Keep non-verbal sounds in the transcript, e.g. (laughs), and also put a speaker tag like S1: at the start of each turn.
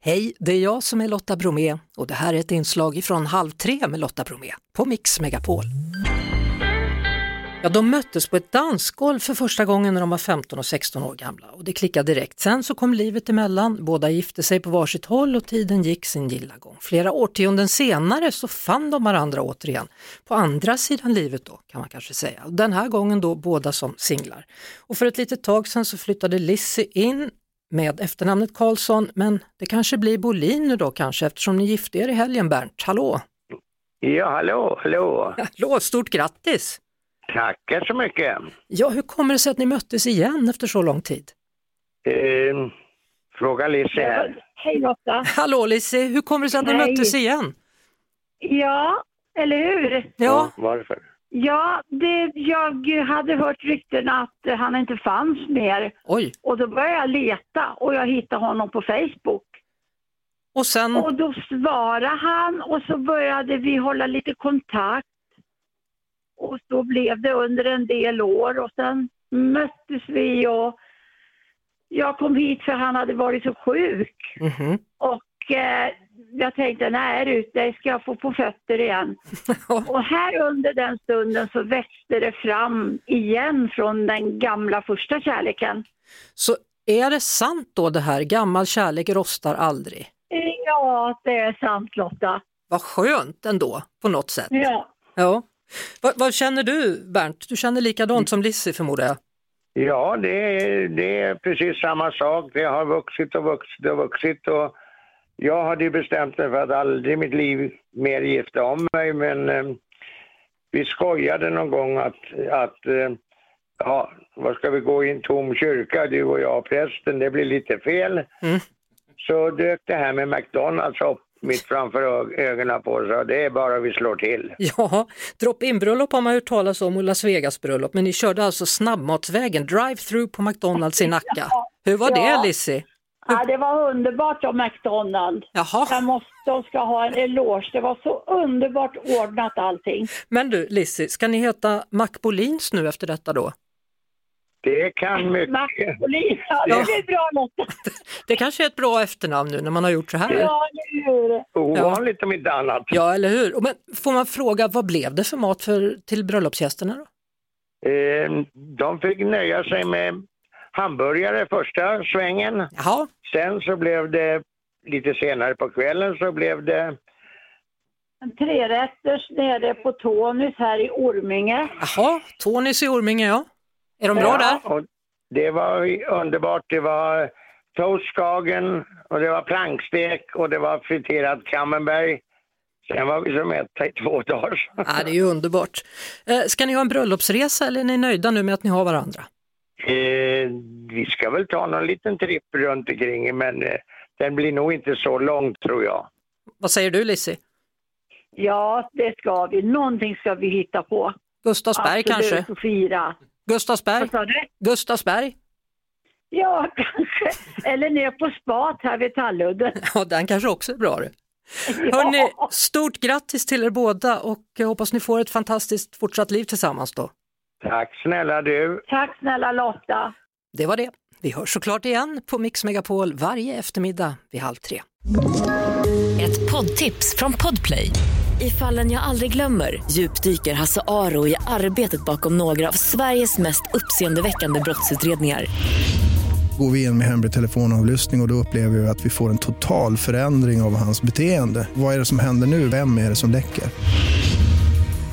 S1: Hej, det är jag som är Lotta Bromé och det här är ett inslag från Halv tre med Lotta Bromé på Mix Megapol. Ja, de möttes på ett dansgolv för första gången när de var 15 och 16 år gamla och det klickade direkt. Sen så kom livet emellan, båda gifte sig på varsitt håll och tiden gick sin gilla gång. Flera årtionden senare så fann de varandra återigen, på andra sidan livet då kan man kanske säga. Och Den här gången då båda som singlar. Och för ett litet tag sen så flyttade Lissy in med efternamnet Karlsson, men det kanske blir Bolin nu då kanske eftersom ni gifte er i helgen Bernt. Hallå!
S2: Ja, hallå, hallå.
S1: Hallå, stort grattis!
S2: Tackar så mycket.
S1: Ja, hur kommer det sig att ni möttes igen efter så lång tid?
S2: Eh, fråga Lise
S3: Eh.
S2: här.
S3: Hej Lotta.
S1: Hallå Lizzie, hur kommer det sig att ni
S3: Hej.
S1: möttes igen?
S3: Ja, eller hur?
S1: Ja,
S2: Varför?
S3: Ja, det, jag hade hört rykten att eh, han inte fanns mer
S1: oj.
S3: och då började jag leta och jag hittade honom på Facebook.
S1: Och sen,
S3: Och då svarade han och så började vi hålla lite kontakt. Och så blev det under en del år och sen möttes vi och jag kom hit för han hade varit så sjuk.
S1: Mhm.
S3: Och eh, jag tänkte, nej Rut, dig ska jag få på fötter igen. och här under den stunden så växte det fram igen från den gamla första kärleken.
S1: så är det sant då det här, gammal kärlek rostar aldrig?
S3: Ja, det är sant Lotta.
S1: Vad skönt ändå, på något sätt.
S3: Ja.
S1: Ja. Vad, vad känner du Bernt? Du känner likadant som Lizzie förmodar jag?
S2: Ja, det är, det är precis samma sak. Det har vuxit och vuxit och vuxit. Och jag hade ju bestämt mig för att aldrig i mitt liv mer gifta om mig, men eh, vi skojade någon gång att, att eh, ja, vad ska vi gå i en tom kyrka, du och jag och prästen, det blir lite fel.
S1: Mm.
S2: Så dök det här med McDonalds upp mitt framför ö- ögonen på oss och det är bara vi slår till.
S1: (laughs) Ja, drop-in-bröllop har man hört talas om och Las Vegas-bröllop, men ni körde alltså snabbmatsvägen, drive-through på McDonalds i Nacka. Hur var
S3: Ja.
S1: det Lizzie?
S3: ja, det var underbart av McDonalds.
S1: Jaha,
S3: Jag måste, de ska ha en eloge. Det var så underbart ordnat allting.
S1: men du Lizzie, ska ni heta Mac Bolins nu efter detta då?
S2: Det kan
S3: Max
S2: mycket.
S3: och Lisa, det blir bra Lotta.
S1: Det kanske är ett bra efternamn nu när man har gjort så här.
S3: Ja, eller hur?
S2: Ovanligt om inte annat.
S1: Ja, eller hur? Och Men får man fråga, vad blev det för mat för, till bröllopsgästerna då?
S2: Eh, de fick nöja sig med hamburgare första svängen.
S1: Jaha,
S2: Sen så blev det lite senare på kvällen så blev det
S3: En trerätters nere på Tonys här i Orminge.
S1: jaha, Tonys i Orminge ja. Är de bra där?
S2: Ja, och det var underbart. Det var toastskagen och det var plankstek och det var friterad camembert. Sen var vi som mätta i två dagar.
S1: Ja, det är ju underbart. Eh, Ska ni ha en bröllopsresa eller är ni nöjda nu med att ni har varandra?
S2: Eh, vi ska väl ta någon liten tripp runt omkring men eh, den blir nog inte så lång tror jag.
S1: Vad säger du Lizzie?
S3: Ja, det ska vi. Någonting ska vi hitta på.
S1: Gustavsberg kanske?
S3: Och fira.
S1: Gustavsberg?
S3: Vad sa du?
S1: Gustavsberg?
S3: Ja, (laughs) kanske. Eller ner på spat här vid Talludden.
S1: Ja, den kanske också är bra du. Hörrni, stort grattis till er båda och jag hoppas ni får ett fantastiskt fortsatt liv tillsammans då.
S2: Tack snälla du.
S3: Tack snälla Lotta.
S1: Det var det. Vi hörs såklart igen på Mix Megapol varje eftermiddag vid halv tre.
S4: Ett poddtips från Podplay. I fallen jag aldrig glömmer djupdyker Hasse Aro i arbetet bakom några av Sveriges mest uppseendeväckande brottsutredningar.
S5: Går vi in med hemlig telefonavlyssning och, och då upplever vi att vi får en total förändring av hans beteende. Vad är det som händer nu? Vem är det som läcker?